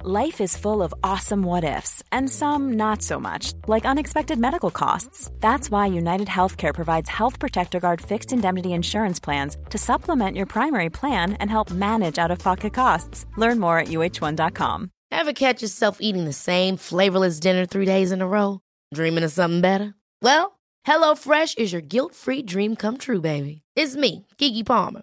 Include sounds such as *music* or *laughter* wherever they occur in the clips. Life is full of awesome what ifs, and some not so much, like unexpected medical costs. That's why United Healthcare provides Health Protector Guard fixed indemnity insurance plans to supplement your primary plan and help manage out of pocket costs. Learn more at uh1.com. Ever catch yourself eating the same flavorless dinner three days in a row? Dreaming of something better? Well, HelloFresh is your guilt free dream come true, baby. It's me, Kiki Palmer.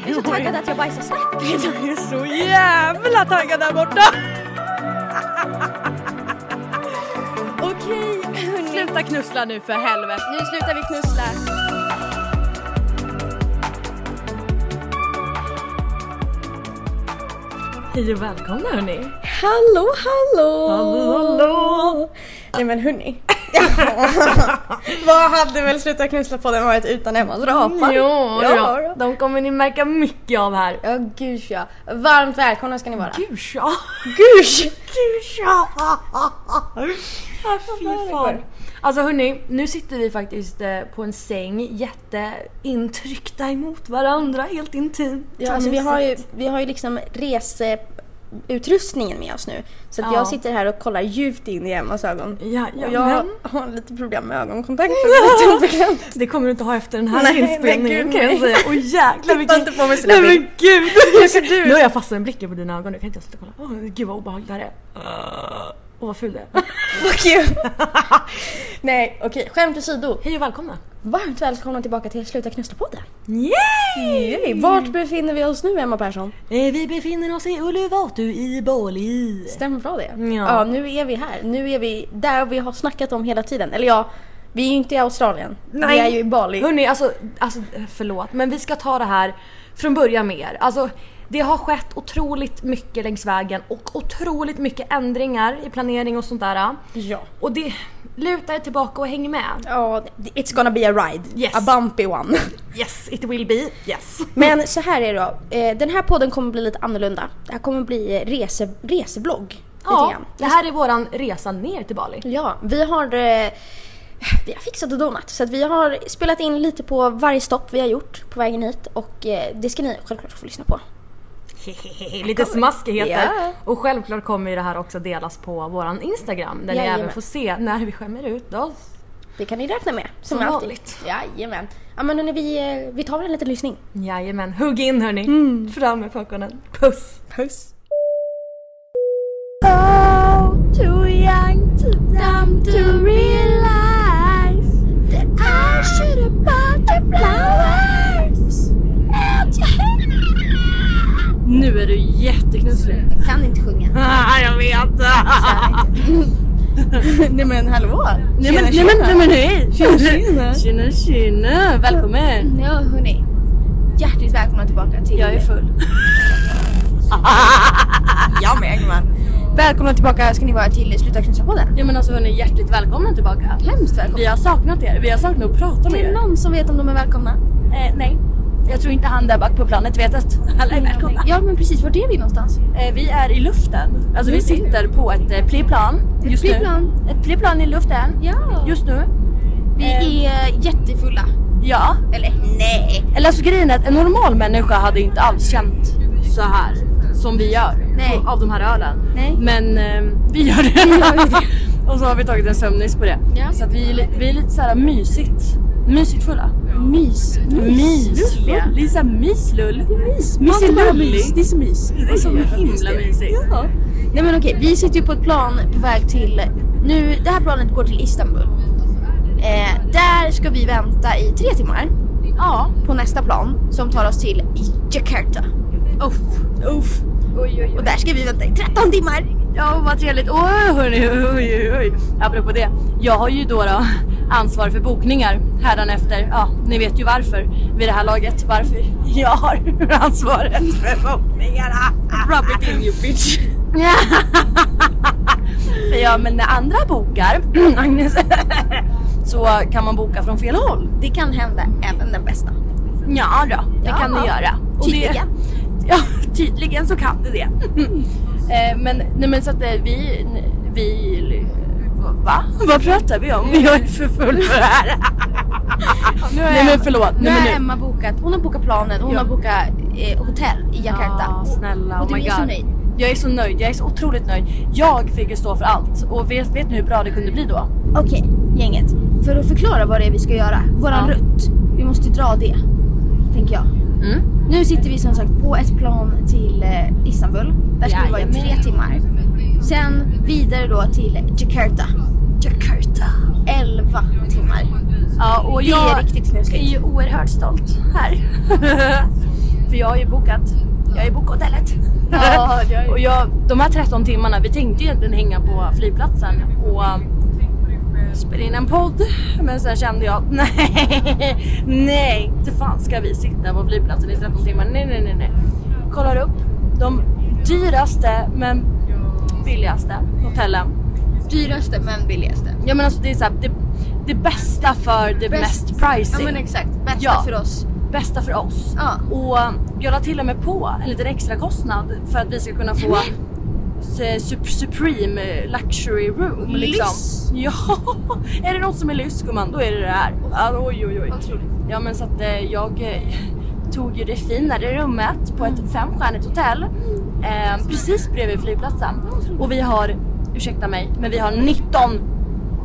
Jag är så taggad att jag bajsar snabbt. Jag är så jävla taggad där borta! Okej hörni, Sluta knussla nu för helvete. nu slutar vi knussla. Hej och välkomna hörni. Hallå hallå! Hallå, hallå. Nej men hörni. *laughs* Vad hade väl sluta knussla på den varit utan Emmas rapar? Ja, ja. ja, de kommer ni märka mycket av här. Ja gud ja. Varmt välkomna ska ni vara. Gud ja. Gud! Ah, Fy fan. Alltså hörni, nu sitter vi faktiskt eh, på en säng jätteintryckta emot varandra helt intimt. Ja, alltså, vi, har ju, vi har ju liksom reseutrustningen med oss nu. Så att Ja. jag sitter här och kollar djupt in i Emmas ögon. Och Jajamän. jag har lite problem med ögonkontakt. *laughs* Så det är lite *laughs* obekvämt. Det kommer du inte ha efter den här Nej, nej, inspelningen gud, kan jag nej. säga. Åh jäklar Titta vilken... inte på mig så där Nej men bild. *laughs* gud! Hur ser du ut? Nu har jag fastnat med blicken på dina ögon, nu kan inte jag sluta kolla. Åh, gud vad obehagligt det här är. Åh vad ful det är. *laughs* Fuck you! Nej okej, skämt åsido. *laughs* Hej och välkomna! Varmt välkomna tillbaka till Sluta knussla-podden. Yay! Vart befinner vi oss nu Emma Persson? Eh, Vi befinner oss i Uluwatu i Bali. Stämmer bra det? Ja. ja, nu är vi här. Nu är vi där vi har snackat om hela tiden. Eller ja, vi är ju inte i Australien. Vi är ju i Bali. Hörni, alltså, alltså förlåt men vi ska ta det här från början med er. Alltså, det har skett otroligt mycket längs vägen och otroligt mycket ändringar i planering och sånt där. Ja. Och det, luta er tillbaka och häng med. Ja, it's gonna be a ride. Yes. A bumpy *laughs* one. Yes, it will be. Yes. Men så här är det då. Eh, Den här podden kommer bli lite annorlunda. Det här kommer bli eh, rese, reseblogg. lite Ja, grann. det här är våran resa ner till Bali. Ja, vi har, eh, vi har fixat och donat. Så att vi har spelat in lite på varje stopp vi har gjort på vägen hit. Och eh, det ska ni självklart få lyssna på. Lite smaskigheter. Ja. Och självklart kommer ju det här också delas på våran Instagram där ni Jajamän. även får se när vi skämmer ut oss. Det kan ni räkna med. Som alltid. vanligt. Jajamän. Ja men hörni, vi, eh, vi tar väl en liten lyssning. Jajamän, hugg in hörni. Mm. Fram med popcornen. Puss! Puss. Nu är du jätteknusslig. Jag kan inte *laughs* sjunga. Ah, jag vet! *laughs* nej men hallå! Nej men, nej men, nej men hej! Tjena tjena! Tjena välkommen! Ja hörni. Hjärtligt välkomna tillbaka till... Jag är full. *laughs* Jag med gumman. Välkomna tillbaka ska ni vara till Sluta knusa-podden. Ja men alltså hörni, hjärtligt välkomna tillbaka. Hemskt välkomna. har saknat er, vi har saknat att prata Är det någon som vet om de är välkomna? nej. Jag tror inte han där bak på planet vet att *laughs* alla är välkomna. Ja men precis, vart är vi någonstans? Eh, Vi är i luften. Alltså vi sitter på ett eh, flygplan just Flygplan. nu. Ett flygplan i luften Ja. just nu. Eh. Vi är eh, jättefulla. Ja. Eller nej. Eller alltså grejen är att en normal människa hade inte alls känt så här som vi gör Nej. av de här ölen. Nej. Men eh, *laughs* vi gör det. Och så har vi tagit en sömnis på det. Ja. Så att vi, är li- vi är lite så här mysigt. Mysigt fulla. Mys. Mysfulla. Lite såhär myslull. Mysilullig. Det är så mys. Det är så himla mysigt. Ja. Nej men okej, vi sitter ju på ett plan på väg till... Nu, det här planet går till Istanbul. Eh, där ska vi vänta i tre timmar Ja. på nästa plan som tar oss till Jakarta. Uff. Uff. Oj, oj, Och där ska vi vänta i 13 timmar. Ja, vad trevligt. Åh, hörni, oj, oj, oj. Apropå det. Jag har ju då, då ansvar för bokningar efter. Ja, ni vet ju varför vid det här laget. Varför jag *laughs* har ansvaret för bokningarna. Rub it in you *laughs* bitch. för ja, men när andra *clears throat* bokar, *laughs* Agnes, så kan man boka från fel håll. Det kan hända även den bästa. Ja då, det Ja. kan det göra. Och Tydligen. Det, *laughs* ja, tydligen så kan det det. eh, men, nej, men så att eh, vi, vi... Va? Vad pratar vi om? *laughs* Jag är för full för det *laughs* här. Nu Nej, men förlåt. Nu Nej, har men nu. Emma bokat, hon har bokat planet och hon Ja. har bokat eh, hotell i Jakarta. Ja, snälla, och oh du my är så god. nöjd. Jag är så nöjd, jag är så otroligt nöjd. Jag fick ju stå för allt och vet, vet ni hur bra det kunde bli då? Okej, gänget. För att förklara vad det är vi ska göra, våran Ja. rutt. Vi måste dra det, tänker jag. Mm. Nu sitter vi som sagt på ett plan till eh, Istanbul. Där ska vi vara i Jajamän. tre timmar. Sen vidare då till Jakarta. Jakarta. 11 timmar. Ja, och Det jag är riktigt är knuskigt. ju oerhört stolt här. *laughs* För jag har ju bokat, jag har ju bokat hotellet. Ja, det har jag ju. *laughs* och jag, de här 13 timmarna, vi tänkte ju egentligen hänga på flygplatsen och um, spela in en podd. Men sen kände jag, *laughs* nej, nej, inte fan ska vi sitta på flygplatsen i 13 timmar. Nej, nej, nej, nej. Kollar upp de dyraste men billigaste hotellen. Dyraste men billigaste. Ja men alltså det är såhär, det, det bästa för det Bäst- mest pricing Ja men exakt. Bästa Ja. för oss. bästa för oss. Ja. Och jag la till och med på en liten extra kostnad för att vi ska kunna få su- su- Supreme Luxury Room. Lyss. Liksom. Ja, *laughs* är det något som är lyss gumman då är det det här. Ja, oj oj oj. Ja men så att eh, jag eh, tog ju det finare rummet på Mm. ett femstjärnigt hotell eh, precis bredvid flygplatsen. Och vi har, ursäkta mig, men vi har 19,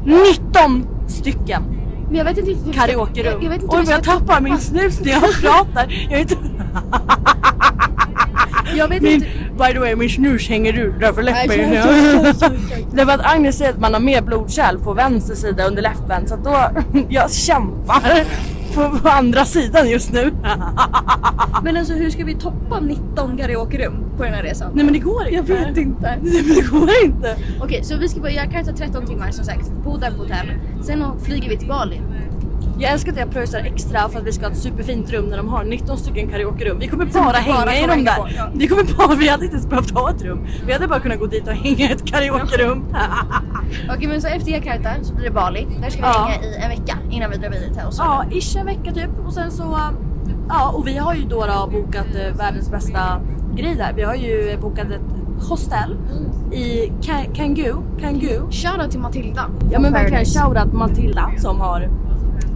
19 stycken Men jag vet inte riktigt hur vi ska- karaokerum. Jag, jag vet inte hur Oj men vi jag ska tappar min snus när *laughs* jag pratar. Jag är inte... Jag vet min, *laughs* inte. by the way min snus hänger ur därför läppar Aj, nu. oj, oj, oj, oj. Det var att Agnes säger att man har mer blodkärl på vänster sida under läppen så att då, *laughs* jag kämpar på, på andra sidan just nu. Men alltså hur ska vi toppa 19 karaokerum på den här resan? Nej men det går inte. Jag vet inte. Nej men det går inte. Okej, så vi ska vara i Jakarta 13 timmar som sagt. Bo där på hotell. Sen flyger vi till Bali. Jag älskar att jag pröjsar extra för att vi ska ha ett superfint rum när de har 19 stycken karaokerum. Vi kommer Som bara vi bara hänga kommer i dem hänga där. på, ja. Vi kommer bara, vi hade inte ens behövt ha ett rum. Vi hade bara kunnat gå dit och hänga i ett karaokerum. *laughs* Okej men så efter Jakarta så blir det Bali. Där ska vi Ja. hänga i en vecka innan vi drar vidare till Australien. Ja, ish en vecka typ. Och sen så... Ja, och vi har ju då, då bokat eh, världens bästa grej där. Vi har ju eh, bokat ett hostel i Ka- Kangu. Kangu. Shoutout till Matilda. Ja men verkligen Paradise. shoutout Matilda som har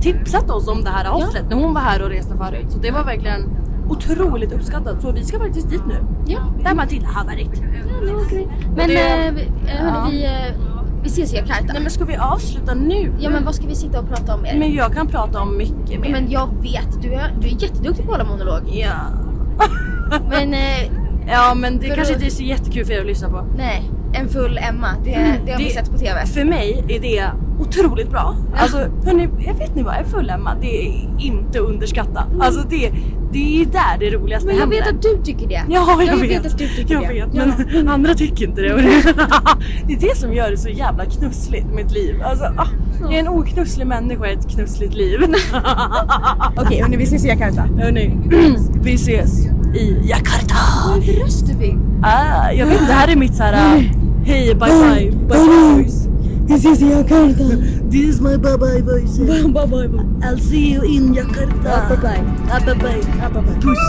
tipsat oss om det här hostlet när hon var här och reste förut. Så det var verkligen otroligt uppskattat. Så vi ska faktiskt dit nu. Ja, Där Matilda har varit. nu åker vi. Men det- eh, vi- eh, Ja. hörni, vi, eh, vi ses i Jakarta. Nej men ska vi avsluta nu? Ja men vad ska vi sitta och prata om er? Men jag kan prata om mycket mer. Ja, men jag vet, du är, du är jätteduktig på att hålla monolog. Ja. Men eh, ja men det För då- kanske inte är så jättekul för er att lyssna på. nej, en full Emma, det, Mm. det har vi Det- sett på TV. För mig är det otroligt bra. Alltså hörni, jag vet ni vad, jag är full Emma. Det är inte att underskatta. Alltså det, det är där det roligaste Men jag händer. vet att du tycker det. *laughs* Ja, jag, vet. att du tycker jag det. vet, men *laughs* andra tycker inte det. Och det- det är det som gör det så jävla knussligt mitt liv. Alltså, ah, jag är en oknusslig människa i ett knussligt liv. *laughs* Okej hörni, vi ses i Jakarta. Hörni, vi ses i Jakarta. Vilken röst du fick. Ah, jag vet, det här är mitt såhär, hej, bye bye, bye bye voice. Vi ses i Jakarta. This is my bye bye voice. Bye bye bye. I'll see you in Jakarta. Bye bye. Bye bye. Bye bye. Puss.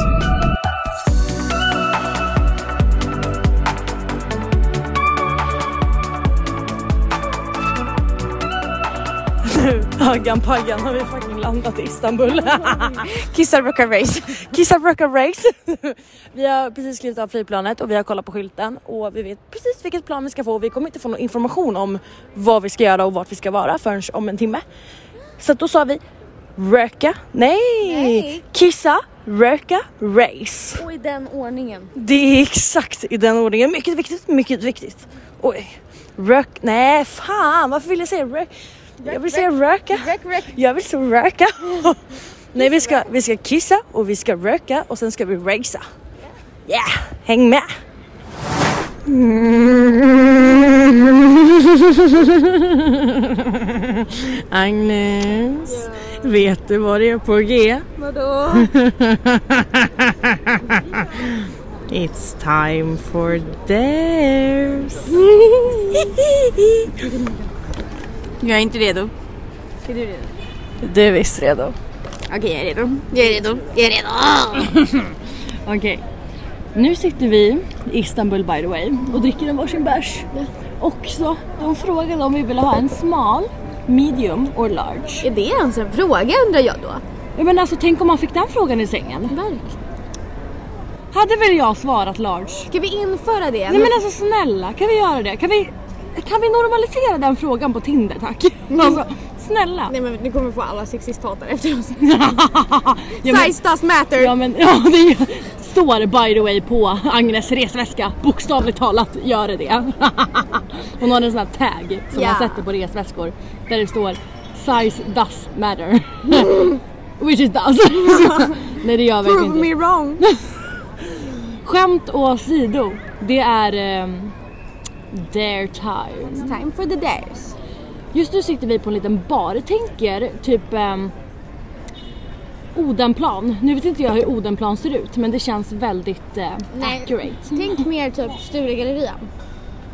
Nu, Ögan Pagan har vi fucking landat i Istanbul. Kissar rockar race. Kissa Rocker Race. *laughs* Vi har precis klivit av flygplanet och vi har kollat på skylten och vi vet precis vilket plan vi ska få och vi kommer inte få någon information om vad vi ska göra och vart vi ska vara förrän om en timme. Så att då sa vi röka, nej, Nej. kissa, röka, race. Och i den ordningen. Det är exakt i den ordningen. Mycket viktigt, mycket viktigt. Oj. Rök... Nej, fan varför vill jag säga rök? Jag vill säga röka. Rök, rök. Jag vill så röka. *laughs* Nej, vi ska, vi ska kissa och vi ska röka och sen ska vi racea. Ja, yeah. häng med! *laughs* Agnes, vet du vad det är på G? Vadå? It's time for dares. Jag är inte redo. Du är visst redo. Okej, jag är redo. Jag är redo. Jag är redo. Okej. Nu sitter vi i Istanbul by the way och dricker en varsin bärs. Och så, de frågade om vi ville ha en smal, medium or large. Är det ens en fråga undrar jag då? Jag menar alltså tänk om man fick den frågan i sängen. Verk. Hade väl jag svarat large? Ska vi införa det? Nej men alltså snälla, kan vi göra det? Kan vi, kan vi normalisera den frågan på Tinder tack? Alltså, snälla. Nej men nu kommer vi få alla sexisthatare efter oss. Ja, men- Size does matter. Ja men *laughs* ja, det gör- står by the way på Agnes resväska. Bokstavligt talat gör det det. *laughs* Hon har en sån här tag som Ja. man sätter på resväskor där det står size does matter. *laughs* Which it does. *laughs* Nej det gör verkligen Prove inte. me wrong. *laughs* Skämt åsido, det är ehm, dare time. Time for the dares. Just nu sitter vi på en liten bar. Tänker typ ehm, Odenplan. Nu vet inte jag hur Odenplan ser ut men det känns väldigt eh, Nej. accurate. Tänk mer typ Sturegallerian.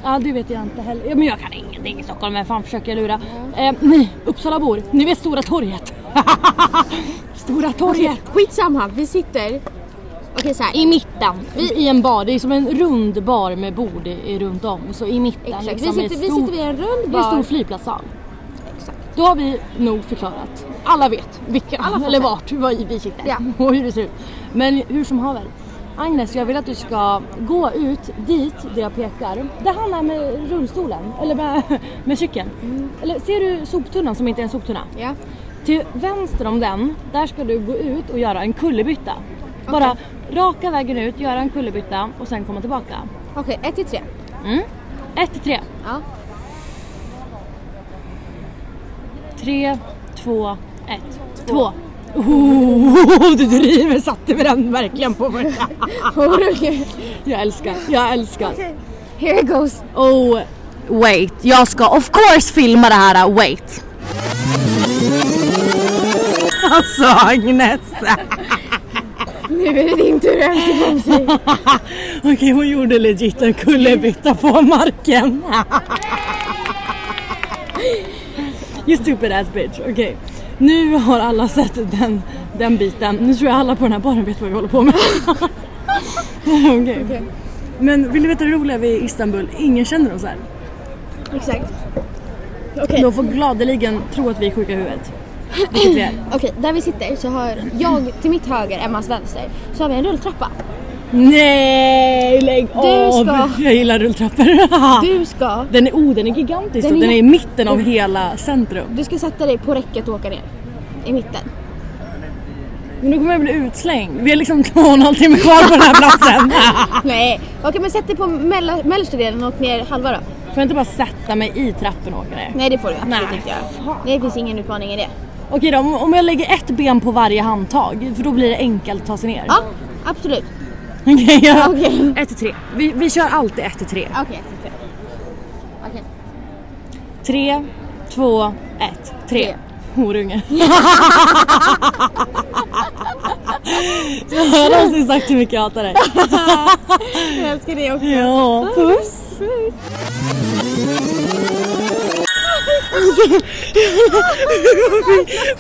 Ja det vet jag inte heller. Ja, men jag kan ingenting i Stockholm, men fan försöker jag lura? Mm. Eh, ni Uppsalabor, ni vet Stora torget? *laughs* Stora torget! Skitsamma, vi sitter... Okej så här. I mitten, vi i en bar. Det är som en rund bar med bord i, runt om. Så i mitten Exakt. liksom, vi, är sitter, vi stor- sitter vid en rund Det är en stor bar. flygplatssal. Exakt. Då har vi nog förklarat. Alla vet vilka, Alla fattar. eller vart var vi sitter Ja. *laughs* och hur det ser ut. Men hur som haver. Agnes, jag vill att du ska gå ut dit där jag pekar. Där han är med rullstolen, eller med, *laughs* med cykeln. Eller ser du soptunnan som inte är en soptunna? Mm. Ja. Till vänster om den, där ska du gå ut och göra en kullerbytta. Bara raka vägen ut, göra en kullerbytta och sen komma tillbaka. Mm. Okej, ett till tre. Ett till tre. Ja. Tre, två, ett, två. Oh, *laughs* du driver, satte vi den verkligen *laughs* på mig. jag älskar, jag älskar. Oh, Here it goes. Oh, wait, jag ska of course filma det här, wait. Alltså Agnes! Nu är det din tur MC Bamse. Okej hon gjorde legit en kullerbytta på marken. *laughs* You stupid ass bitch. Okej. Nu har alla sett den, den biten. Nu tror jag alla på den här baren vet vad vi håller på med. *laughs* Okej. *laughs* Men vill du veta det roliga vid Istanbul? Ingen känner oss här. Exakt. De får gladeligen tro att vi är sjuka i *laughs* huvudet. Vilket vi är. Okej, där vi sitter så har jag till mitt höger, Emmas vänster, så har vi en rulltrappa. Nej, lägg av! ska- Jag gillar rulltrappor. Du ska, Den är, oh, den är gigantisk Den den, är den är i jätte- mitten av hela centrum. du ska sätta dig på räcket och åka ner. I mitten. Men då kommer jag bli utslängd. Vi har liksom *laughs* två och en halv timme kvar på den här platsen. Ah. Nej, okej men sätt dig på mella- mellersta delen och åk ner halva då. Får jag inte bara sätta mig i trappen och åka ner? Nej det får du absolut Nej, inte göra. Nej, det finns ingen utmaning i det. Okej då, om- om jag lägger ett ben på varje handtag, för då blir det enkelt att ta sig ner. Ja, absolut. *laughs* Okej, ja. Okej. *laughs* Ett till tre. Vi, vi kör alltid ett till tre. Okej, okay, Okej. Tre, två, ett, tre. Tre. Horunge. jag har någonsin sagt hur mycket jag hatar dig. Jag älskar det också. Ja, puss.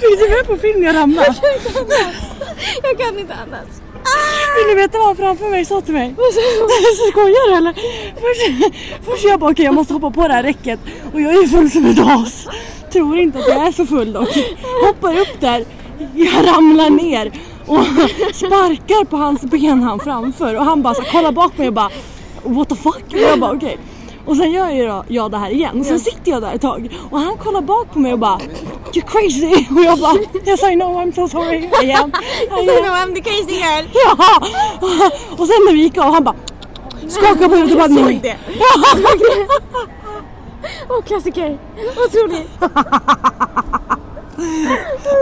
Fick du med på film jag ramlade? Jag kan inte annars. *laughs* Vill du veta vad han framför mig sa till mig? *laughs* Skojar du eller? Först, först jag bara okej jag måste hoppa på det här räcket och jag är full som ett as. Tror inte att jag är så full dock. Hoppar upp där, jag ramlar ner och *laughs* sparkar på hans ben han framför och han bara så här, kollar bak mig och bara what the fuck? Och jag bara okej. Och sen gör jag, jag det här igen och sen sitter jag där ett tag och han kollar bak på mig och bara You're crazy! Och jag bara Yes I know I'm so sorry I *laughs* am. I am. No, I'm the crazy girl. Ja! Och sen när vi gick av han bara skakade på huvudet och bara nej. det. Ja. Åh, klassiker. Otroligt.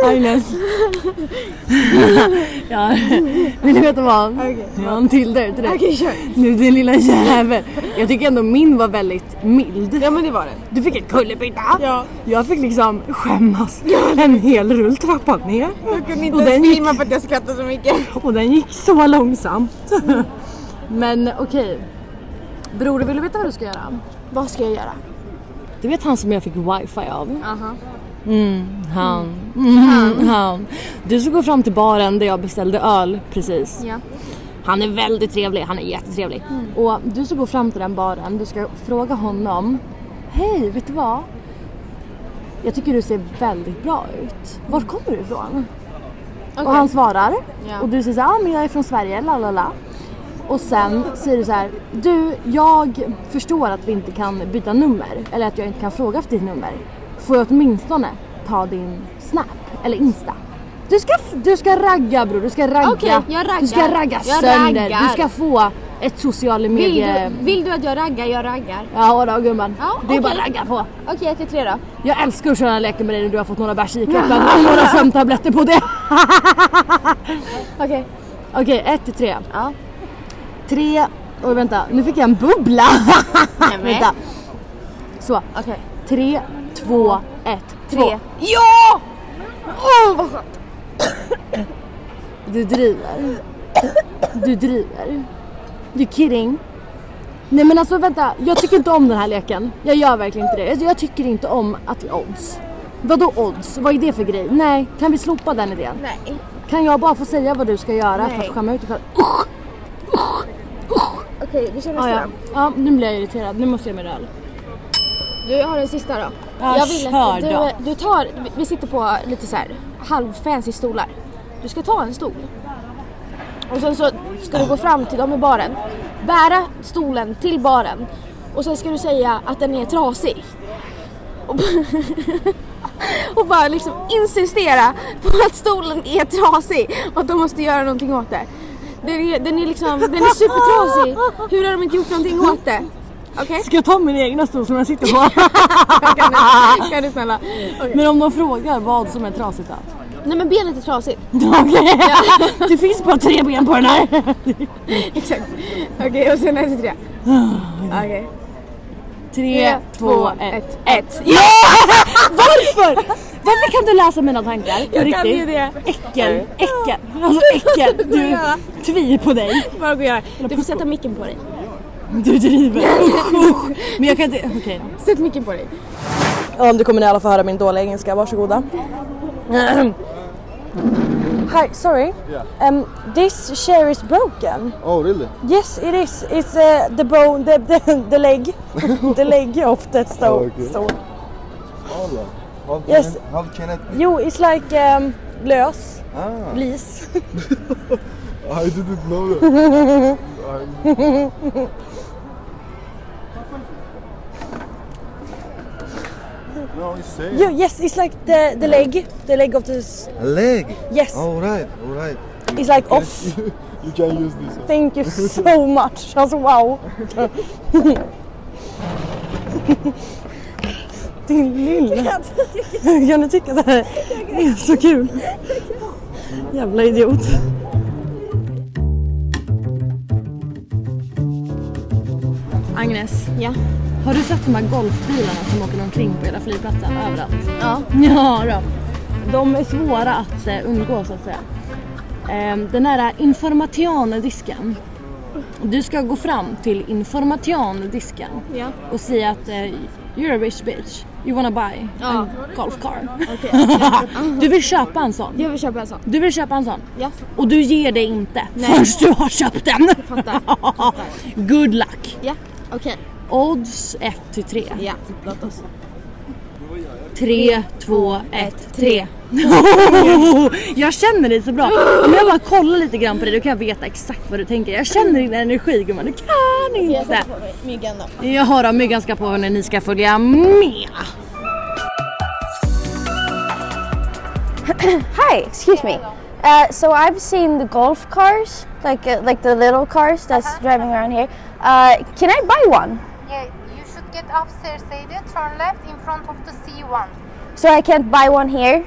Agnes. ja. Vill ni veta vad? Jag har en till där till dig. Okej, kör. Nu din lilla jävel. Jag tycker ändå min var väldigt mild. Ja, men det var den. Du fick en kullerbytta. Ja. Jag fick liksom skämmas en hel rulltrappa ner. Jag kunde inte Och ens den gick- filma för att jag skrattade så mycket. Och den gick så långsamt. Men okej. Bror, vill du veta vad du ska göra? Vad ska jag göra? Du vet han som jag fick wifi av? Aha. Mm, han. Mm, han. Du som går fram till baren där jag beställde öl precis. Ja. Mm. Han är väldigt trevlig, han är jättetrevlig. Och du som går fram till den baren, du ska fråga honom. Hej, vet du vad? Jag tycker du ser väldigt bra ut. Var kommer du ifrån? Och han svarar. Ja. Och du säger så här, ah, men jag är från Sverige, la la la. Och sen säger du så här, du jag förstår att vi inte kan byta nummer eller att jag inte kan fråga efter ditt nummer. Får jag åtminstone ta din Snap eller Insta? Du ska, du ska ragga bror, du ska ragga. Okej, jag raggar. Du ska ragga Jag sönder. raggar. Du ska få ett sociala Vill medier... du, vill du att jag raggar? Jag raggar. Ja då gumman, Ja, det är okej. bara att ragga på. Okej, ett till tre då. Jag älskar att köra leken med dig när du har fått några bärs i kroppen och några sömntabletter på det. *laughs* Okej. Okej, ett till tre. Ja. Tre, oj vänta, nu fick jag en bubbla. vänta. Så, Okej. tre, två, ett, två. Tre. Ja! Åh vad skönt. Du driver. Du driver. You kidding? Nej men alltså vänta, jag tycker inte om den här leken. Jag gör verkligen inte det. Alltså, Jag tycker inte om att odds. Vadå odds? Vad är det för grej? Nej, kan vi slopa den idén? Nej. Kan jag bara få säga vad du ska göra för Nej. att skämma ut dig själv? Okej, vi kör Ah, nästa ja. då. ja, nu blir jag irriterad. Nu måste jag med öl. Du har den sista då. Ja, jag vill kör att då. du, du tar, vi- vi sitter på lite så här halvfancy stolar. Du ska ta en stol. Och sen så ska du gå fram till dem i baren. Bära stolen till baren. Och sen ska du säga att den är trasig. Och, b- *laughs* och bara liksom insistera på att stolen är trasig och att de måste göra någonting åt det. Den är, den är liksom, den är supertrasig. Hur har de inte gjort någonting åt det? Okej? Ska jag ta min egna stol som jag sitter på? Kan *laughs* du, kan du snälla? men om de frågar vad som är trasigt då? Nej men benet är trasigt. *laughs* Okej. *laughs* Det finns bara tre ben på den här. *laughs* Exakt. Okej och sen är det tre. Okej. Tre, två, ett. Ja! *laughs* Varför? Varför kan du läsa mina tankar? På Jag riktigt? kan ju det. Äckel, äckel, alltså *laughs* äckel. Du, tvi på dig. Vad går jag göra? Du får sätta micken på dig. Du *laughs* driver. Usch, usch. Men jag kan inte, okej. Sätt micken på dig. Ja, du kommer ni alla få höra min dåliga engelska, varsågoda. *clears throat* Hi, sorry. Um, this chair is broken. Oh, really? Yes, it is. It's uh, the bone, the, the, the *laughs* leg, the leg of the stone. Oh, Okay. stone. All how can Yes. it, how can it be? Jo, it's like um, lös, Ah, lis. I didn't know that. I- no, it's safe. Jo, yes, it's like the, the leg, the leg of the... s- A leg. Oh. Yes, All right, all right. it's like off. *laughs* You can use this. One. Thank you *laughs* so much. Alltså wow. Din lilla. Kan du tycka att det här är så kul? Jävla idiot. Agnes, Ja. har du sett de här golfbilarna som åker omkring på hela flygplatsen överallt? Ja. Ja då. De är svåra att eh, undgå så att säga. Ehm, Den här informationdisken. Du ska gå fram till informationdisken Ja. och säga att eh, you're a rich bitch, you wanna buy a Ja. golf car. *laughs* du vill köpa en sån. Jag vill köpa en sån. Du vill köpa en sån. Ja. Och du ger det inte förrän du har köpt den. *laughs* Fattar. Good luck. Ja. Okej. Odds 1 till 3. Ja. Låt oss. 3, 2, 1, 3. *laughs* Jag känner dig så bra. Om jag bara kollar lite grann på dig då kan jag veta exakt vad du tänker. Jag känner din energi gumman, du kan inte. Myggan då. Jag har myggan ska på hörni, ni ska följa med. Hi, excuse me. Uh, so I've seen the golf cars, like uh, like the little cars that's driving around here. Uh, can I buy one? Yeah, you should get upstairs, Sadie. Turn left in front of the C1. So I can't buy one here.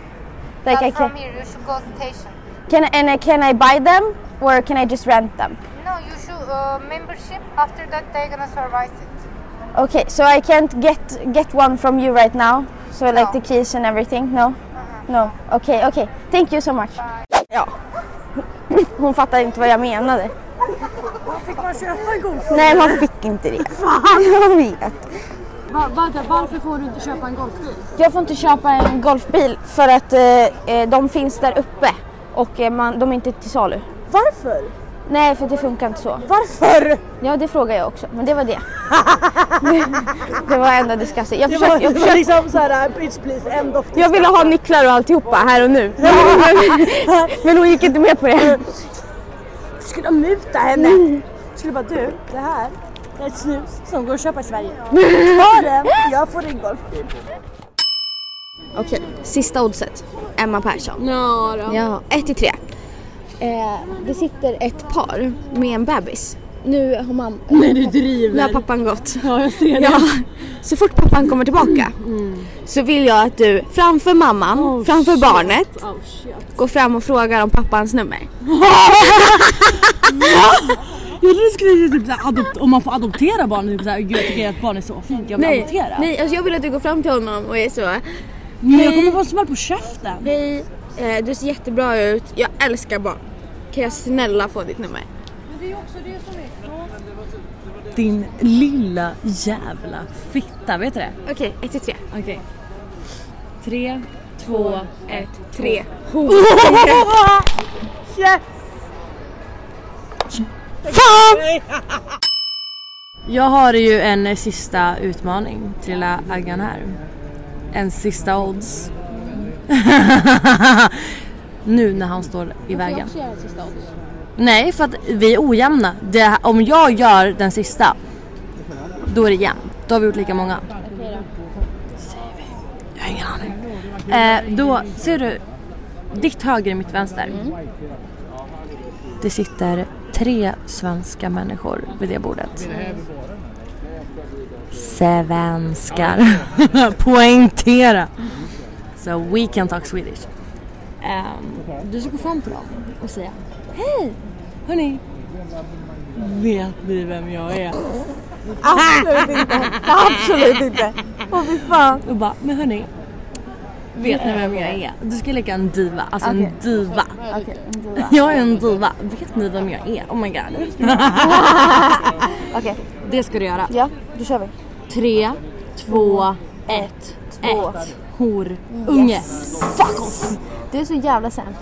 Like But I from can. here, you should go station. Can and I, can I buy them or can I just rent them? No, you should uh, membership. After that, they're gonna service it. Okay, so I can't get get one from you right now. So like the keys and everything. No, Uh-huh. no. Okay, okay. Thank you so much. Ja. Hon fattar inte vad jag menade. Fick man köpa en golfkart? Nej, man fick inte det. Fan. jag vet. Va, vänta, varför får du inte köpa en golfbil? Jag får inte köpa en golfbil för att eh, eh, de finns där uppe och eh, man, de är inte till salu. Varför? Nej, för det funkar inte så. Varför? Ja, det frågar jag också, men det *laughs* var det. det var ändå disgusting. Jag, Det försökte, var- jag, det var försökte, liksom såhär, bitch please, end of jag ville ha nycklar och alltihopa här och nu. *laughs* men hon gick inte med på det. Jag skulle muta henne. Jag skulle bara du, det här det är ett snus som går att köpa i Sverige. Ta den, jag får din golfbil. Okej, sista oddset. Emma Persson. Ja, då. Ja, ett till tre. Eh, det sitter ett par med en bebis. Nu har *laughs* mamma... Nej, du driver. Nu har pappan gått. Ja, jag ser det. Ja, så fort pappan kommer tillbaka så vill jag att du framför mamman, framför barnet, Oh, shit. går fram och frågar om pappans nummer. Jag trodde du skulle säga typ såhär, adopt- om man får adoptera barn. Typ såhär, gud jag tycker att barn är så fint, jag vill nej, adoptera. nej alltså jag vill att du går fram till honom och är så. Men jag kommer få en smäll på käften. Hej, eh, du ser jättebra ut. Jag älskar barn. Kan jag snälla få ditt nummer? Men det är också det som är... Din lilla jävla fitta, vet du det? Okej, ett till tre. Okej. Tre, två, ett, tre. Ho- Yes! Fan! Jag har ju en sista utmaning till lilla Aggan här. En sista odds. *laughs* nu när han står i vägen. Nej, för att vi är ojämna. Det, om jag gör den sista, då är det jämnt. Då har vi gjort lika många. Jag har ingen aning. Eh, då ser du ditt höger är mitt vänster. Det sitter tre svenska människor vid det bordet. Svenskar. *laughs* Poängtera. So we can talk Swedish. Ehm, du ska gå fram till dem och säga Hej! Hörni! Vet ni vem jag är? Absolut inte. Absolut inte. Åh fy fan. Och bara, men hörni. Vet ni vem jag är? Du ska leka en diva. Alltså Okej. en diva. Okej, en diva. *laughs* Jag är en diva. Vet ni vem jag är? Oh my *laughs* god. Okej. Det ska du göra. Ja, då kör vi. Tre, två, ett, Två. ett. Hor, unge. Fuck off! Du är så jävla sämst.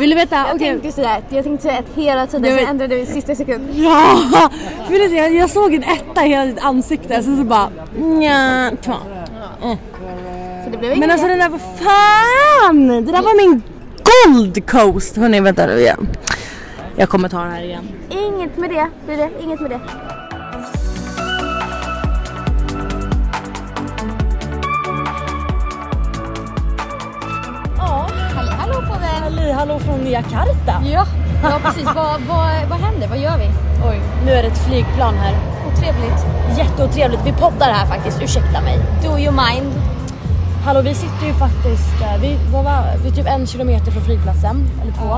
Vill du veta? Jag Okej. tänkte säga ett, jag tänkte säga ett hela Du tiden, vet- sen ändrade du i sista sekund. Ja! Vill du se? Jag, jag såg en etta i hela ditt ansikte. Sen så bara nja, kom. Mm. Så det blev Men inget. alltså den där var fan! Det där var min Gold Coast! Hörni vänta nu igen. Jag kommer ta den här igen. Inget med det, blir det. Inget med det. Ja, halli hallå på den. Halli hallå från Jakarta. Ja, ja precis. Vad, vad, vad händer? Vad gör vi? Oj, nu är det ett flygplan här. Otrevligt. Jätteotrevligt. Vi poddar här faktiskt, ursäkta mig. Do you mind? Hallå, vi sitter ju faktiskt, eh, vi, vad var, vi är typ en kilometer från flygplatsen, eller två.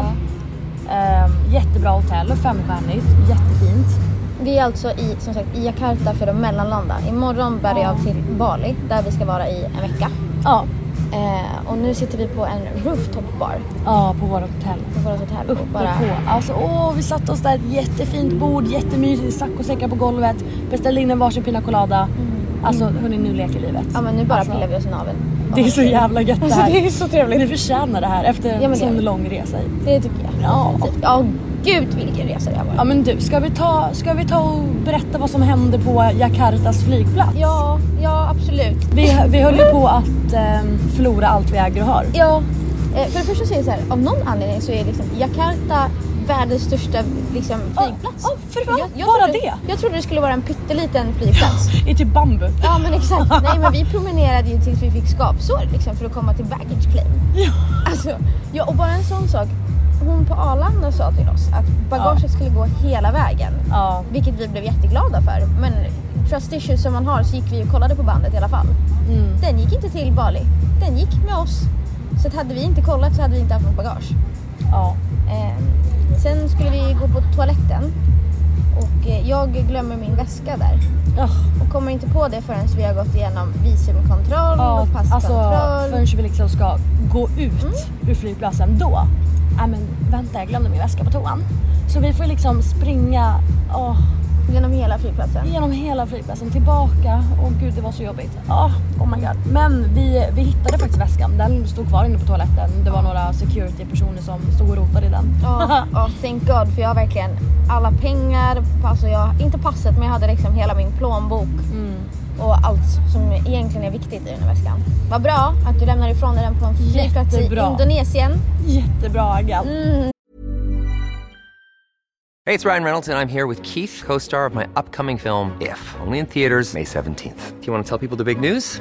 Ehm, jättebra hotell, femstjärnigt, jättefint. Vi är alltså i, som sagt, i Jakarta för att mellanlanda. Imorgon bär jag av till Bali där vi ska vara i en vecka. Ja. Eh, och nu sitter vi på en rooftop bar. Ja, på vårt hotell. På vårt hotell. och Uppe på. Alltså, åh, vi satte oss där, ett jättefint bord, jättemysigt, saccosäckar på golvet. Beställde in en varsin pina colada. Alltså hörni, nu leker livet. Ja men nu bara Alltså, pillar vi oss i naveln. Det är så jävla gött det Alltså, här. det är så trevligt. Vi förtjänar det här efter Ja, men en det gör sån vi. lång resa hit. Det tycker jag. Ja. Ja, gud vilken resa det har varit. Ja men du, ska vi ta, ska vi ta och berätta vad som hände på Jakartas flygplats? Ja, ja absolut. Vi, vi höll ju på att ehm, förlora allt vi äger och har. Ja, eh, för det första så är det så här, av någon anledning så är liksom Jakarta världens största liksom, flygplats. Oh, bara trodde, det? Jag trodde det skulle vara en pytteliten flygplats. I typ bambu. Ja men *laughs* exakt. Nej men vi promenerade ju tills vi fick skapsår liksom, för att komma till baggage claim. Ja. Alltså, ja, och bara en sån sak. Hon på Arlanda sa till oss att bagaget skulle gå hela vägen. Vilket vi blev jätteglada för. Men trust issues som man har så gick vi och kollade på bandet i alla fall. Mm. Den gick inte till Bali. Den gick med oss. Så att hade vi inte kollat så hade vi inte haft något bagage. Ja. Eh, sen skulle vi gå på toaletten och eh, jag glömmer min väska där. Och kommer inte på det förrän vi har gått igenom visumkontroll Ja, och alltså passkontroll. förrän vi liksom ska gå ut ur flygplatsen då. Nej men vänta jag glömde min väska på toan. Så vi får liksom springa åh, Genom hela flygplatsen? genom hela flygplatsen tillbaka. Åh gud det var så jobbigt. Ja, oh my god. Men vi, vi hittade faktiskt väskan. Den stod kvar inne på toaletten. Det var några security personer som stod och rotade i den. Ja, ja, thank god för jag har verkligen alla pengar, alltså jag, inte passet men jag hade liksom hela min plånbok och allt som egentligen är viktigt i den här väskan. Vad bra att du lämnar ifrån dig den på en flygplats i Jättebra. Indonesien. Jättebra Aggan. Hey, it's Ryan Reynolds, and I'm here with Keith, co star of my upcoming film, If, only in theaters, May 17th. Do you want to tell people the big news?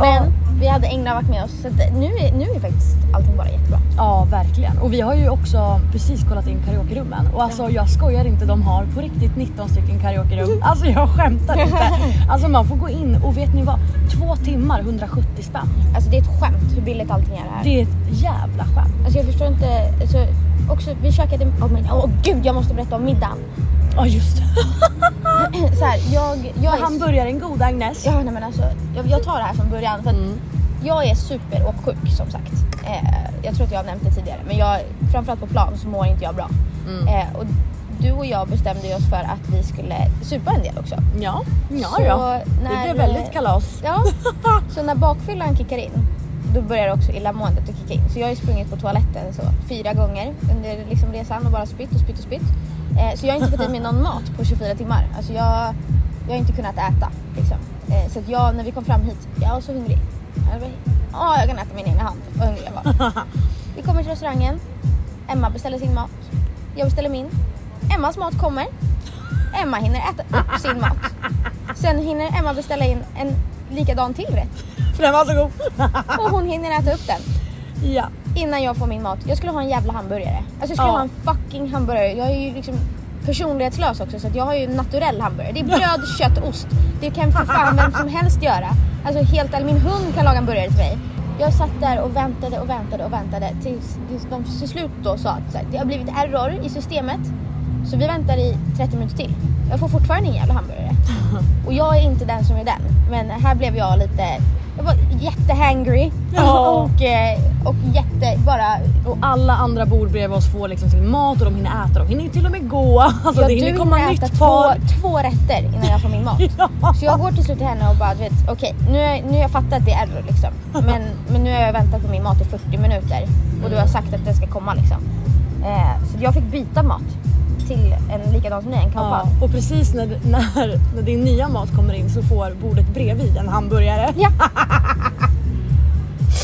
Men vi hade Englavakt med oss så att nu, är, nu är faktiskt allting bara jättebra. Ja, verkligen. Och vi har ju också precis kollat in karaokerummen. Och alltså jag skojar inte, de har på riktigt 19 stycken karaokerum. Mm. Alltså jag skämtar inte. Alltså man får gå in och vet ni vad? Två timmar, 170 spänn. Alltså det är ett skämt hur billigt allting är här. Det är ett jävla skämt. Alltså jag förstår inte, alltså, också, vi käkade, åh oh, men åh gud jag måste berätta om middagen. Ja just det. *clears throat* så här, jag, jag Och hamburgaren god Agnes. Mm. Ja nej men alltså jag, jag tar det här från början för att jag är superåksjuk som sagt. Eh, jag tror att jag har nämnt det tidigare men jag, framförallt på plan så mår inte jag bra. Mm. Eh, och du och jag bestämde ju oss för att vi skulle supa en del också. Ja, ja, Så ja. Det när- blev väldigt kalas. Ja, så när bakfyllan kickar in då börjar också illamåendet att kicka in. Så jag har ju sprungit på toaletten så fyra gånger under liksom resan och bara spytt och spytt och spytt. Eh, så jag har inte fått i mig någon mat på 24 timmar. Alltså jag, jag har inte kunnat äta. Liksom. Eh, så att jag, när vi kom fram hit, jag var så hungrig. Jag bara, Ja, jag kan äta min egna hand. Vad hungrig jag var. Vi kommer till restaurangen. Emma beställer sin mat. Jag beställer min. Emmas mat kommer. Emma hinner äta upp sin mat. Sen hinner Emma beställa in en likadan till rätt. För den var så god. Och hon hinner äta upp den. Ja. Innan jag får min mat. Jag skulle ha en jävla hamburgare. Alltså jag skulle Ja. ha en fucking hamburgare. Jag är ju liksom personlighetslös också så att jag har ju en naturell hamburgare. Det är bröd, kött, ost. Det kan för fan vem som helst göra. Alltså helt ärligt, min hund kan laga en burgare till mig. Jag satt där och väntade och väntade och väntade tills, tills de till slut då sa att så här, det har blivit error i systemet. Så vi väntar i 30 minuter till. Jag får fortfarande ingen jävla hamburgare. Och jag är inte den som är den. Men här blev jag lite... Jag var jättehangry. Ja. Och, eh, och jätte... Bara... Och alla andra bor bredvid oss får liksom sin mat och de hinner äta. De hinner till och med gå. Alltså Ja, det du hinner komma hinner äta nytt två, par. två rätter innan jag får *laughs* min mat. Så jag går till slut till henne och bara, du vet, okej nu, är- nu har jag fattat att det är error *laughs* liksom. Men, men nu har jag väntat på min mat i 40 minuter och du har sagt att den ska komma liksom. Eh, så jag fick byta mat till en likadan som ni, en Ja, kampan. och precis när, när, när din nya mat kommer in så får bordet bredvid en hamburgare. Ja.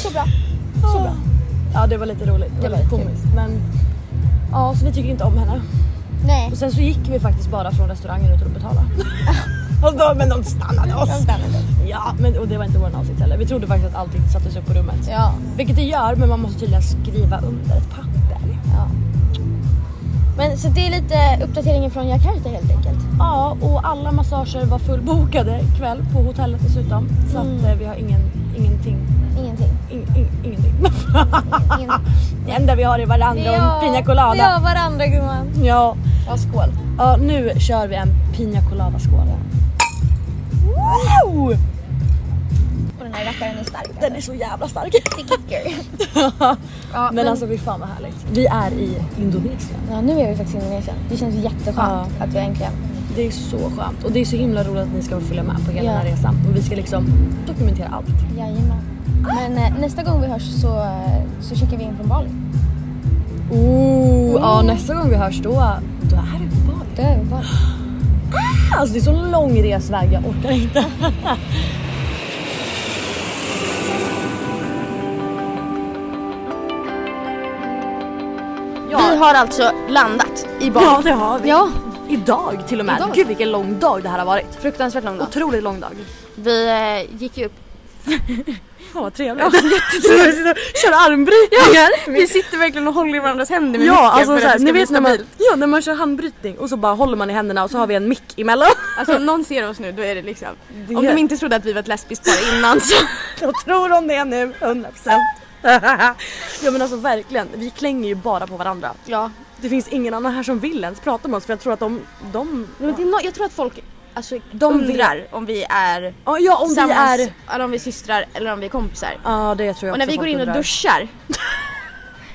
Så bra. Så bra. Ja det var lite roligt. Det var lite komiskt. Men ja, så vi tycker inte om henne. Nej. Och sen så gick vi faktiskt bara från restaurangen utan att *laughs* betala. och då, men de stannade oss. De stannade. Ja, men, och det var inte vår avsikt heller. Vi trodde faktiskt att allting sattes upp på rummet. Ja. Vilket det gör, men man måste tydligen skriva under ett papper. Men Men så det är lite uppdateringen från Jakarta helt enkelt. Ja, och alla massager var fullbokade ikväll på hotellet dessutom. Så att eh, vi har ingen, ingenting. Ingenting. In, in, ingenting. *laughs* *laughs* det enda vi har är varandra och en pina colada. Vi har varandra gumman. Ja. ja, skål. Ja, nu kör vi en pina colada skål. Wow! Och den här rackaren är stark. Den är så jävla stark. Ja, men, alltså fy fan vad härligt. Vi är i Indonesien. Ja nu är vi faktiskt i Indonesien. Det känns jätteskönt att vi äntligen... Det är så skönt och det är så himla roligt att ni ska få följa med på hela Ja. den här resan. Och vi ska liksom dokumentera allt. Jajamän. Men eh, nästa gång vi hörs så, eh, så checkar vi in från Bali. Ooh, ja, nästa gång vi hörs då, då är det på Bali. Då är vi på Bali. Ah, alltså det är så lång resväg, jag orkar inte. Vi har alltså landat i Bali. Ja det har vi. Ja. Idag till och med. Idag. Gud vilken lång dag det här har varit. Fruktansvärt lång dag. Otroligt lång dag. Vi eh, gick ju upp. Fan vad trevligt. Jättetrevligt. Kör armbrytningar. Ja, vi sitter verkligen och håller i varandras händer med Ja, micken för alltså att såhär, det ska ni bli vet när man, stabilt. ja, när man kör handbrytning och så bara håller man i händerna och så har vi en mick emellan. Alltså om någon ser oss nu då är det liksom. Det- Om de inte trodde att vi var ett lesbiskt par innan *laughs* så. Jag tror om det nu, 100%. *laughs* ja men alltså verkligen, vi klänger ju bara på varandra. Ja. Det finns ingen annan här som vill ens prata med oss för jag tror att de... de Men det är no- jag tror att folk alltså, De undrar om vi är Ja, ja, om vi tillsammans, är- eller om vi är systrar eller om vi är kompisar. Ja det tror jag och när också vi går folk in och undrar. duschar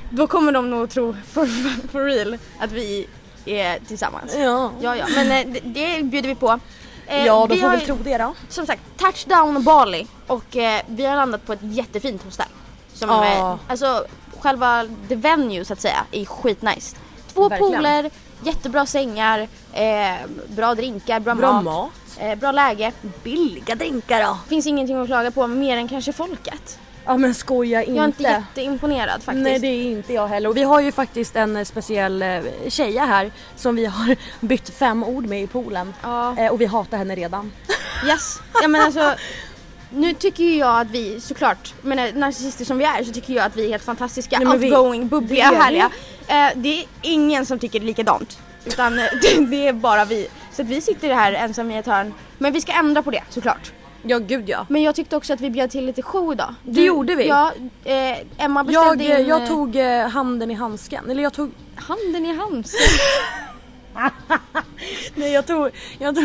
då kommer de nog tro for, for real att vi är tillsammans. *laughs* Ja. ja, ja. Men eh, det, det bjuder vi på. Eh, Ja de vi får har väl ju- tro det då. Som sagt, touchdown Bali och eh, vi har landat på ett jättefint hostel. Som, Ja. eh, alltså själva the venue så att säga är skitnice. Två Verkligen. pooler, jättebra sängar, eh, bra drinkar, bra, Bra mat, mat. Eh, bra läge. Billiga drinkar då. Finns ingenting att klaga på mer än kanske folket. Ja men skoja inte. Jag är inte jätteimponerad faktiskt. Nej det är inte jag heller och vi har ju faktiskt en eh, speciell eh, tjeja här som vi har *laughs* bytt fem ord med i poolen. Eh, Och vi hatar henne redan. Yes. Ja, men alltså, nu tycker ju jag att vi såklart, men eh, narcissister som vi är så tycker jag att vi är helt fantastiska, Nej, men vi- outgoing, bubbliga, det är vi. härliga. Eh, det är ingen som tycker likadant. Utan eh, det, det är bara vi. Så att vi sitter här ensamma i ett hörn. Men vi ska ändra på det såklart. Ja gud ja. Men jag tyckte också att vi bjöd till lite show idag. Det gjorde vi. Ja, eh, Emma Jag, beställde eh, in... jag tog eh, handen i handsken, eller jag tog... Handen i handsken? *laughs* Nej jag tog... Jag tog...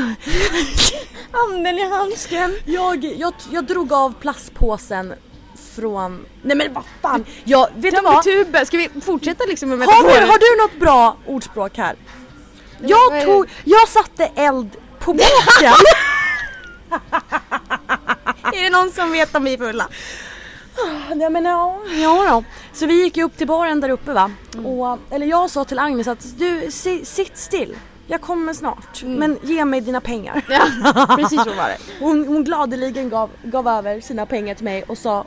*laughs* handen i handsken! Jag, jag, jag drog av plastpåsen från... Nej men vad fan! Jag, vet du vad? Tuben, ska vi fortsätta liksom med Har du, har du något bra ordspråk här? vad Jag är tog... Jag satte eld *laughs* på boken! Är det någon som vet om vi är fulla? Ah, Nej men ja, ja då. Så vi gick ju upp till baren där uppe va. Mm. Och, eller jag sa till Agnes att du si, sitt still. Jag kommer snart men ge mig dina pengar. Mm. *laughs* Precis så var det. Hon, hon gladeligen gav, gav över sina pengar till mig och sa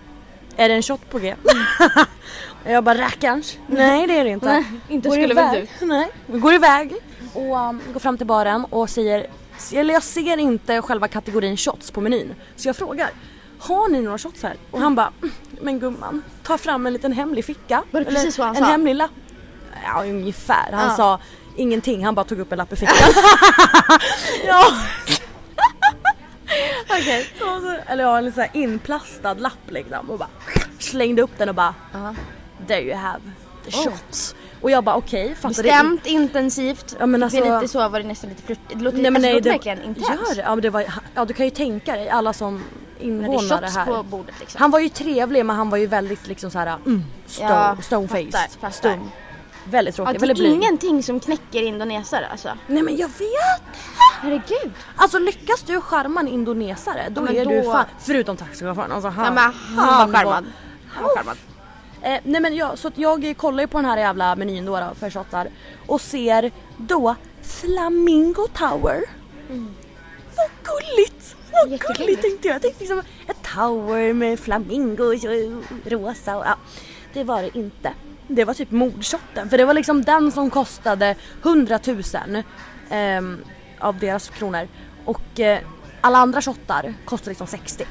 Är det en shot på G? *laughs* jag bara rackarns. Nej det är det inte. Mm. Nej, inte Går skulle väl iväg. Nej. Vi går iväg och um, går fram till baren och säger Eller jag ser inte själva kategorin shots på menyn. Så jag frågar Har ni några shots här? Och han bara "Mm, Men gumman, ta fram en liten hemlig ficka. Var det Eller precis vad han en sa? hemlig lapp. Ja ungefär. Han Ja. sa ingenting. Han bara tog upp en lapp i fickan. *laughs* ja. *laughs* Okej. Och så- Eller ja, en sån här inplastad lapp liksom och bara slängde upp den och bara "Uh-huh. There you have the Oh. shots. Och jag bara okej, fattar Bestämt, intensivt. Ja, men det alltså- är lite så var det nästan lite flört. Det låter, Nej men alltså, nej, det låter det, verkligen intenst. gör det. Ja, men det var, ja du kan ju tänka dig alla som När invånare det är shots här. på bordet liksom. Han var ju trevlig men han var ju väldigt liksom såhär mm, stone, Ja, stonefaced. fattar, fattar. Stum. Väldigt Ja, tråkig, det väldigt är blyg. ingenting som knäcker indonesare alltså. Nej men jag vet! Herregud. Alltså lyckas du charma en indonesare då Ja, men är du då- fan, förutom taxichauffören alltså han, Ja, men han var charmad. Han var charmad. Eh, nej men jag, så att jag kollar ju på den här *laughs* jävla menyn då, då för shottar och ser då Flamingo Tower. Vad gulligt! Vad gulligt tänkte jag. Jag tänkte liksom ett tower med flamingos och rosa och ja. Det var det inte. Det var typ mordshotten för det var liksom den som kostade 100 000 ehm, av deras kronor och eh, alla andra shottar kostade liksom 60.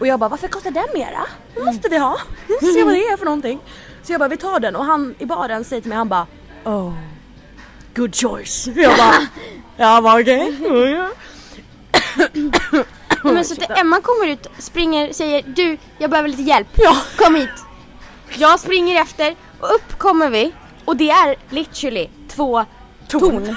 Och jag bara varför kostar den mera? Det måste vi ha. Vi måste se vad det är för någonting. Så jag bara vi tar den och han i baren säger till mig han bara Oh good choice. Jag *laughs* bara, jag bara okej. Nej, men så att Emma kommer ut, springer, säger du, jag behöver lite hjälp. Ja. Kom hit. Jag springer efter och upp kommer vi och det är literally två torn.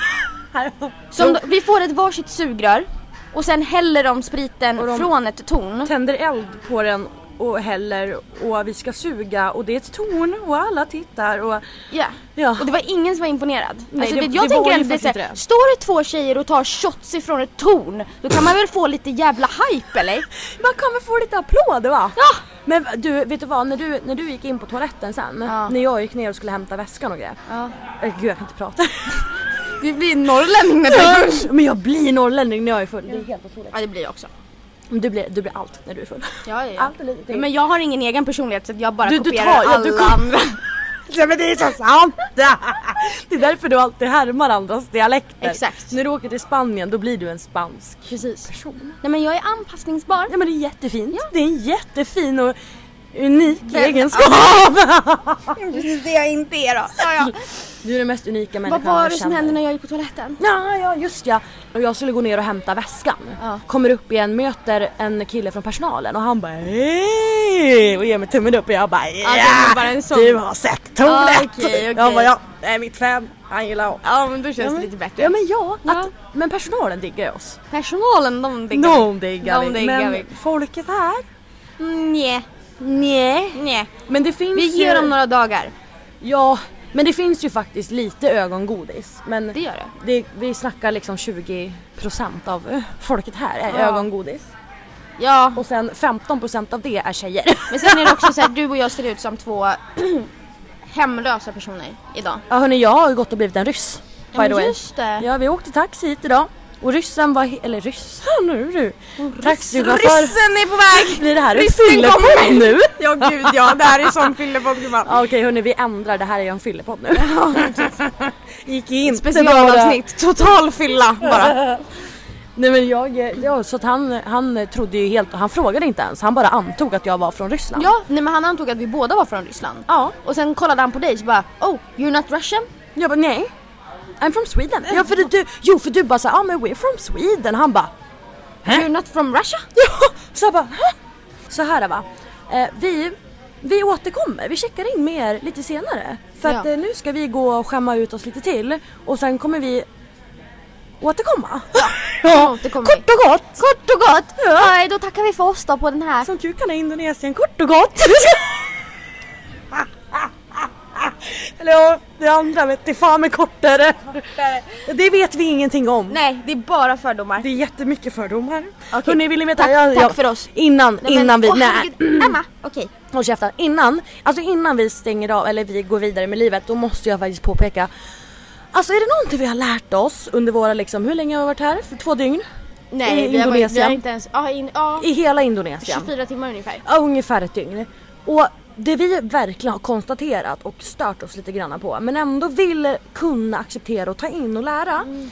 Som, vi får ett varsitt sugrör och sen häller de spriten Och de- från ett torn. Tänder eld på den och häller och vi ska suga och det är ett torn och alla tittar och Ja. ja. Och det var ingen som var imponerad. Nej, alltså, det- vet, jag det var tänker ju att det är faktiskt så inte här, det. står det två tjejer och tar shots ifrån ett torn, då kan man väl få lite jävla hype *laughs* eller? Man kommer få lite applåder va? Ja! Men du, vet du vad? När du, när du gick in på toaletten sen, när jag gick ner och skulle hämta väskan och grejer. Ja. Äh, Gud jag kan inte prata. Du blir norrlänning när du är full. Men jag blir norrlänning när jag är full. Det är helt otroligt. Ja det blir jag också. Men Du blir, du blir allt när du är full. Ja, ja, ja. Allt eller ingenting. Men jag har ingen egen personlighet så att jag bara Du- du kopierar tar- ja, alla du kom- andra. *laughs* Nej men det är så sant! Det är därför du alltid härmar andras dialekter. Exakt. När du åker till Spanien då blir du en spansk. Precis. Nej men jag är anpassningsbar. Ja men det är jättefint. Det är en jättefin och unik egenskap. Precis det jag inte är då. Ja, ja. Du är den mest unika människan *laughs* Vad var jag det som känner. hände när jag gick på toaletten? Ja, ja just ja. Och jag skulle gå ner och hämta väskan. Kommer upp igen, möter en kille från personalen och han bara hej och ger mig tummen upp och jag bara ja, det var bara en sån- du har sett tornet. Ah, okej, okej. Jag bara ja, det är mitt fan, han gillar oss. Ja men då känns men- det lite bättre. Ja men ja, att, men personalen diggar oss. Personalen de diggar De vi. diggar De vi. diggar men vi. folket här? Nje. Nej. Nje. Men det finns Vi ger ju... dem några dagar. Ja, men det finns ju faktiskt lite ögongodis. Men Det gör det. vi snackar liksom 20% av eh, folket här är Ja. ögongodis. Ja. Och sen 15% av det är tjejer. Men sen är det också så här, du och jag ser ut som två *clears throat* hemlösa personer idag. Ja hörni, jag har ju gått och blivit en ryss. Ja, by men the way. just det. Ja, vi åkte taxi hit idag. Och ryssen var, he- eller ryssen nu du. Taxichaufför. Ryssen är på väg! Blir det här en Ryssen fyllepodd kommer! nu? Ja gud ja, det här är som fyllepodd gumman. Ja, Okej hörni, vi ändrar. Det här är ju en fyllepodd nu. *laughs* Gick in. Specialavsnitt, total fylla bara. Nej men jag, eh, ja, så att han, han trodde ju helt, han frågade inte ens, han bara antog att jag var från Ryssland. Ja, nej, men han antog att vi båda var från Ryssland. Ja. Och sen kollade han på dig så bara oh, you're not Russian? Jag bara nej, I'm from Sweden. Ja för du, jo för du bara såhär, ah men we're from Sweden. Han bara, You're not from Russia? *laughs* ja! Så jag bara, "Hä?" så här va. Eh, vi, vi återkommer, vi checkar in med er lite senare. För att Ja. eh, nu ska vi gå och skämma ut oss lite till och sen kommer vi återkomma. Ja, det kommer vi. Kort och gott! Kort och gott! Ja. Då tackar vi för oss då på den här. Som kukarna i Indonesien, kort och gott! Eller ja, det andra vet det fan med kortare. Det vet vi ingenting om. *laughs* Nej, det är bara fördomar. Det är jättemycket fördomar. Hörni, vill ni veta? Tack- jag- jag- tack för oss. Innan, Nej, men- innan vi... åh, nej, herregud. Emma, okej. håll käften. Innan, alltså innan vi stänger av eller vi går vidare med livet, då måste jag faktiskt påpeka. Alltså är det någonting vi har lärt oss under våra liksom, hur länge har vi varit här? För två dygn? Nej, I vi har, varit, vi har Indonesien. inte ens... Ja, in, ja, I hela Indonesien. 24 timmar ungefär. Ja, ungefär ett dygn. Och det vi verkligen har konstaterat och stört oss lite grann på men ändå vill kunna acceptera och ta in och lära. Mm.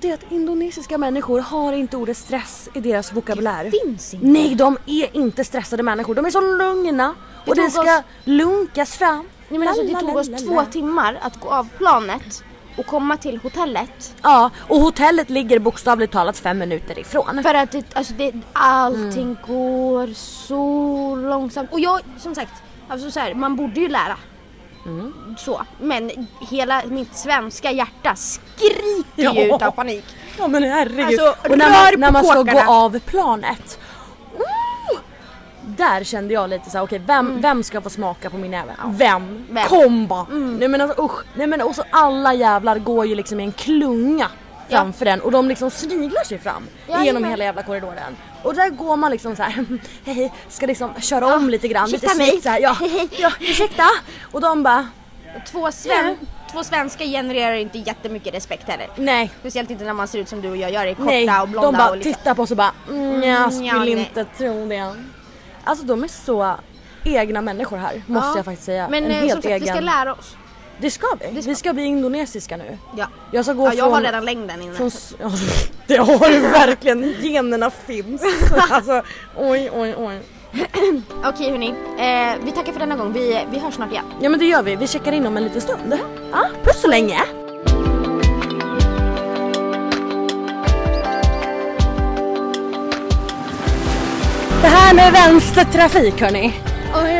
Det är att indonesiska människor har inte ordet stress i deras vokabulär. finns inte. Nej, de är inte stressade människor. De är så lugna och Det det tog ska oss- lunkas fram. Nej, men alltså, det La, la, tog la, oss la, två la. timmar att gå av planet och komma till hotellet. Ja, och hotellet ligger bokstavligt talat fem minuter ifrån. För att det, alltså det, allting Mm. går så långsamt. Och jag, som sagt, alltså så här, man borde ju lära. Mm. Så, men hela mitt svenska hjärta skriker ju Ja. utav panik. Ja men herregud. Alltså, och när rör man, på när man ska gå kåkarna. av planet. Mm. Där kände jag lite såhär, okej vem, Mm. vem ska få smaka på min näve? Vem? Vem? Kom bara! Mm. Nej men alltså usch. Nej men och så alla jävlar går ju liksom i en klunga framför den och de liksom sniglar sig fram Ja, genom jajamän. hela jävla korridoren. Och där går man liksom så här, *laughs* hej, hej, ska liksom köra om lite grann. ursäkta lite mig. snyggt så här, ja, *laughs* ja, ursäkta! Och de bara, Två, sven, två svenskar genererar inte jättemycket respekt heller. nej. Speciellt inte när man ser ut som du och jag gör, är korta Nej, och blonda de bara och liksom. tittar på oss och bara mm, jag Mm, skulle ja, nej." inte tro det. Alltså de är så egna människor här måste Ja. jag faktiskt säga. Men en eh, helt som sagt, egen... vi ska lära oss. Det ska vi. Vi ska bli indonesiska nu. Ja. Jag ska gå Ja, jag från... har redan längden inne. Från... *laughs* Ja, det har du verkligen. Generna *laughs* finns. alltså oj oj oj. Okej hörni, eh, vi tackar för denna gång. Vi, vi hörs snart igen. Ja men det gör vi. Vi checkar in om en liten stund. Ja, puss så länge. Det här med vänstertrafik hörni.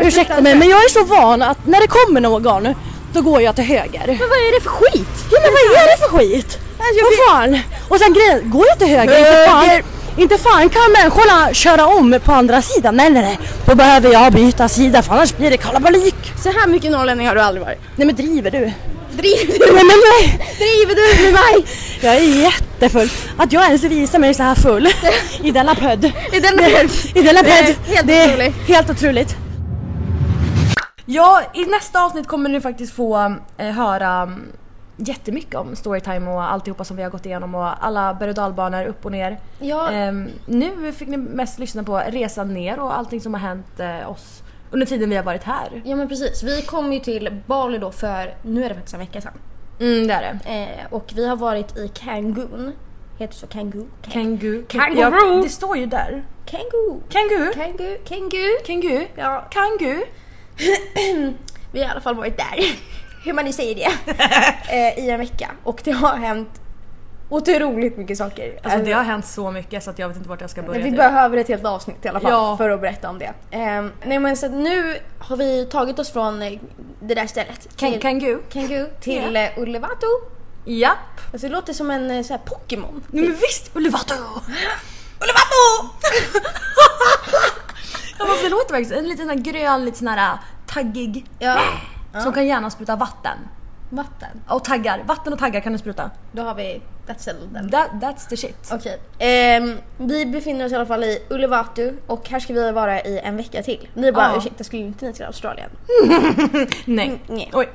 Ursäkta mig men jag är så van att när det kommer någon då går jag till höger. Men vad är det för skit? Ja men vad är det för skit? Vad fan? Och sen grejen, går jag till höger, inte fan, Höger. inte fan kan människorna köra om på andra sidan. Nej nej nej, då behöver jag byta sida för annars blir det kalabalik. Så här mycket norrlänning har du aldrig varit. Nej men driver du? Driver du? Nej, men nej. *laughs* Driver du med mig? Jag är jättefull. Att jag ens visar mig så här *laughs* full i denna pödd. I denna Det- pödd. I denna Det är pödd. helt Det är otroligt. Helt otroligt. Ja, i nästa avsnitt kommer ni faktiskt få eh, höra mm, jättemycket om storytime och alltihopa som vi har gått igenom och alla berg och dalbanor upp och ner. Ja. Ehm, nu fick ni mest lyssna på resan ner och allting som har hänt eh, oss under tiden vi har varit här. Ja men precis. Vi kom ju till Bali då för, nu är det faktiskt en vecka sedan. Mm, det är det. Eh, och vi har varit i Cancun. Heter det så Cancun? Kangu. Kangaroo. Ja, det står ju där. Kangu. Kangu. Kangu. Kangu. Kangu. Ja. Kangu. *clears throat* Vi har i alla fall varit där. *laughs* Hur man nu säger det. *laughs* eh, I en vecka. Och det har hänt otroligt mycket saker. Alltså det har hänt så mycket så att jag vet inte vart jag ska börja. Nej, vi typ. behöver ett helt avsnitt i alla fall Ja. för att berätta om det. Ehm, nej men så att nu har vi tagit oss från eh, det där stället. Kan- till- Kangu. Kangu till Ja. eh, Ullevato. typ. Japp. Alltså det låter som en eh, så här Pokémon. Nej, men visst! Ullevato! Ja, fast det låter verkligen så. en liten sån här grön, lite sån här äh, taggig. Som kan gärna spruta vatten. Vatten. Och taggar. Vatten och taggar kan du spruta. Då har vi That's settled then. That, that's the shit. Okej. Ehm, vi befinner oss i alla fall i Ulevatu och här ska vi vara i en vecka till. Ni bara Ja. ursäkta skulle inte ni till Australien? Nej. Nej. Oj.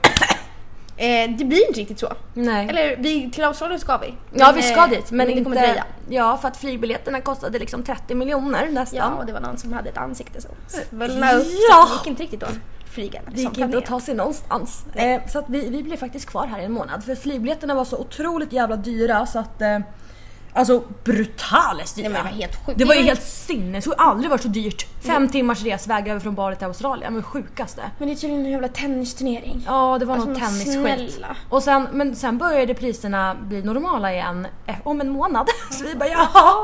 Eh, det blir inte riktigt så. Nej. Eller vi, till Australien ska vi. ja vi eh, ska dit men, det inte... kommer dröja. Ja för att flygbiljetterna kostade liksom 30 miljoner nästan. Ja, och det var någon som hade ett ansikte som svullnade upp Eh, Ja. så det gick inte riktigt att flyga. Det gick inte att ta sig någonstans. Eh, så att vi, vi blev faktiskt kvar här i en månad för flygbiljetterna var så otroligt jävla dyra så att... Eh, alltså brutaliskt dyra. Nej, men det var helt sjukt. Det var ju Det var- helt sinnessjukt. Jag har aldrig varit så dyrt. Fem Mm. timmars resväg över från Bali till Australien. Men sjukaste. Men det är tydligen en jävla tennisturnering. Ja det var Alltså, någon men tennisskit. snälla. Och sen, men sen började priserna bli normala igen eh, om en månad. *laughs* Så vi bara jaha,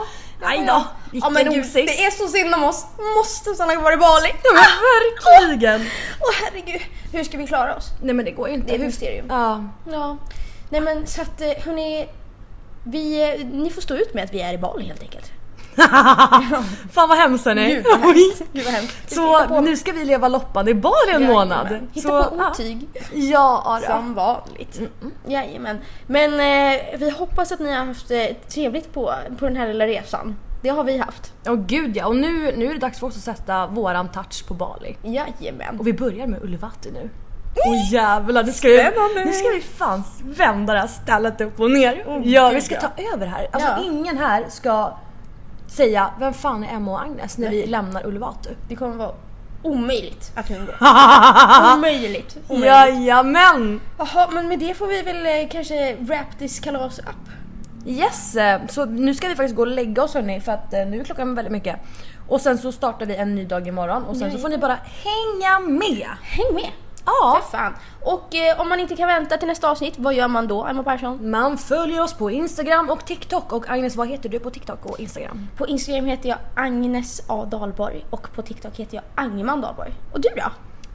nej då. Ja, men gud, det är så synd om oss. Måste stanna kvar i Bali. Ah! Ja, men verkligen. Åh herregud, hur ska vi klara oss? Nej men det går ju inte. Det är ett mysterium. Ja. Ja. Nej men så att eh, hörni, vi, eh, ni får stå ut med att vi är i Bali helt enkelt. Fan vad hemskt hörni. Gud, vad hemskt. Gud vad hemskt. Så nu ska vi leva loppan i Bali en månad. Hitta så, på otyg. Ja, Mm, då. Som vanligt. Jajamän. Men eh, vi hoppas att ni har haft eh, trevligt på, på den här lilla resan. Det har vi haft. Ja gud ja, och nu, nu är det dags för oss att sätta våran touch på Bali. Jajamän. Och vi börjar med Ulvati nu. Åh jävlar, nu ska, vi, Spännande. nu ska vi fan vända det här stället upp och ner. ja, gud, vi ska ja. ta över här. Alltså Ja. ingen här ska säga vem fan är Emma och Agnes när vi lämnar Ulvatu. Det kommer vara omöjligt att *laughs* undgå. omöjligt. omöjligt. Jajamän! Jaha, men med det får vi väl eh, kanske wrap this kalas up. Yes! eh, Så nu ska vi faktiskt gå och lägga oss hörni för att eh, nu är klockan väldigt mycket. Och sen så startar vi en ny dag imorgon och sen så Nej. får ni bara hänga med. Häng med! Ja. För fan. Och eh, om man inte kan vänta till nästa avsnitt, vad gör man då, Emma Persson? Man följer oss på Instagram och TikTok och Agnes vad heter du på TikTok och Instagram? På Instagram heter jag Agnes A Dahlborg och på TikTok heter jag Angeman Dahlborg. Och du då?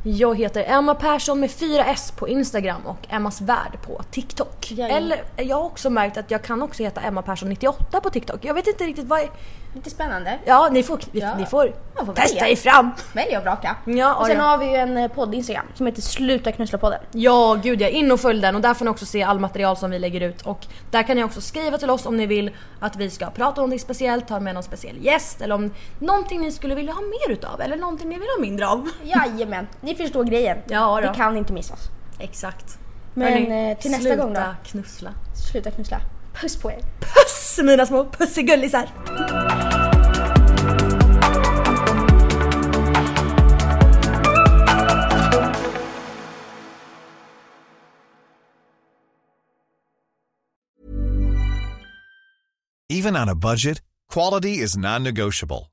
Jag heter Emma Persson med 4S på Instagram och Emmas Värld på TikTok. Jajamän. Eller jag har också märkt att jag kan också heta Emma Persson 98 på TikTok. Jag vet inte riktigt vad... Lite spännande. Ja, ni får, ni, Ja. ni får, Man får testa välja. er fram. Välj och vraka. Ja, och sen ja. har vi ju en eh, podd-Instagram som heter Sluta knussla-podden. Ja, gud ja. In och följ den och där får ni också se all material som vi lägger ut. Och där kan ni också skriva till oss om ni vill att vi ska prata om någonting speciellt, ta med någon speciell gäst eller om någonting ni skulle vilja ha mer utav eller någonting ni vill ha mindre av. Jajamän, ni förstår grejen. Ja, då. Det kan inte missas. Exakt. Men, Hörni, eh, till nästa gång då. Sluta knussla. Sluta knussla. Puss på er. Puss mina små pussigullisar! Even on a budget, quality is non-negotiable.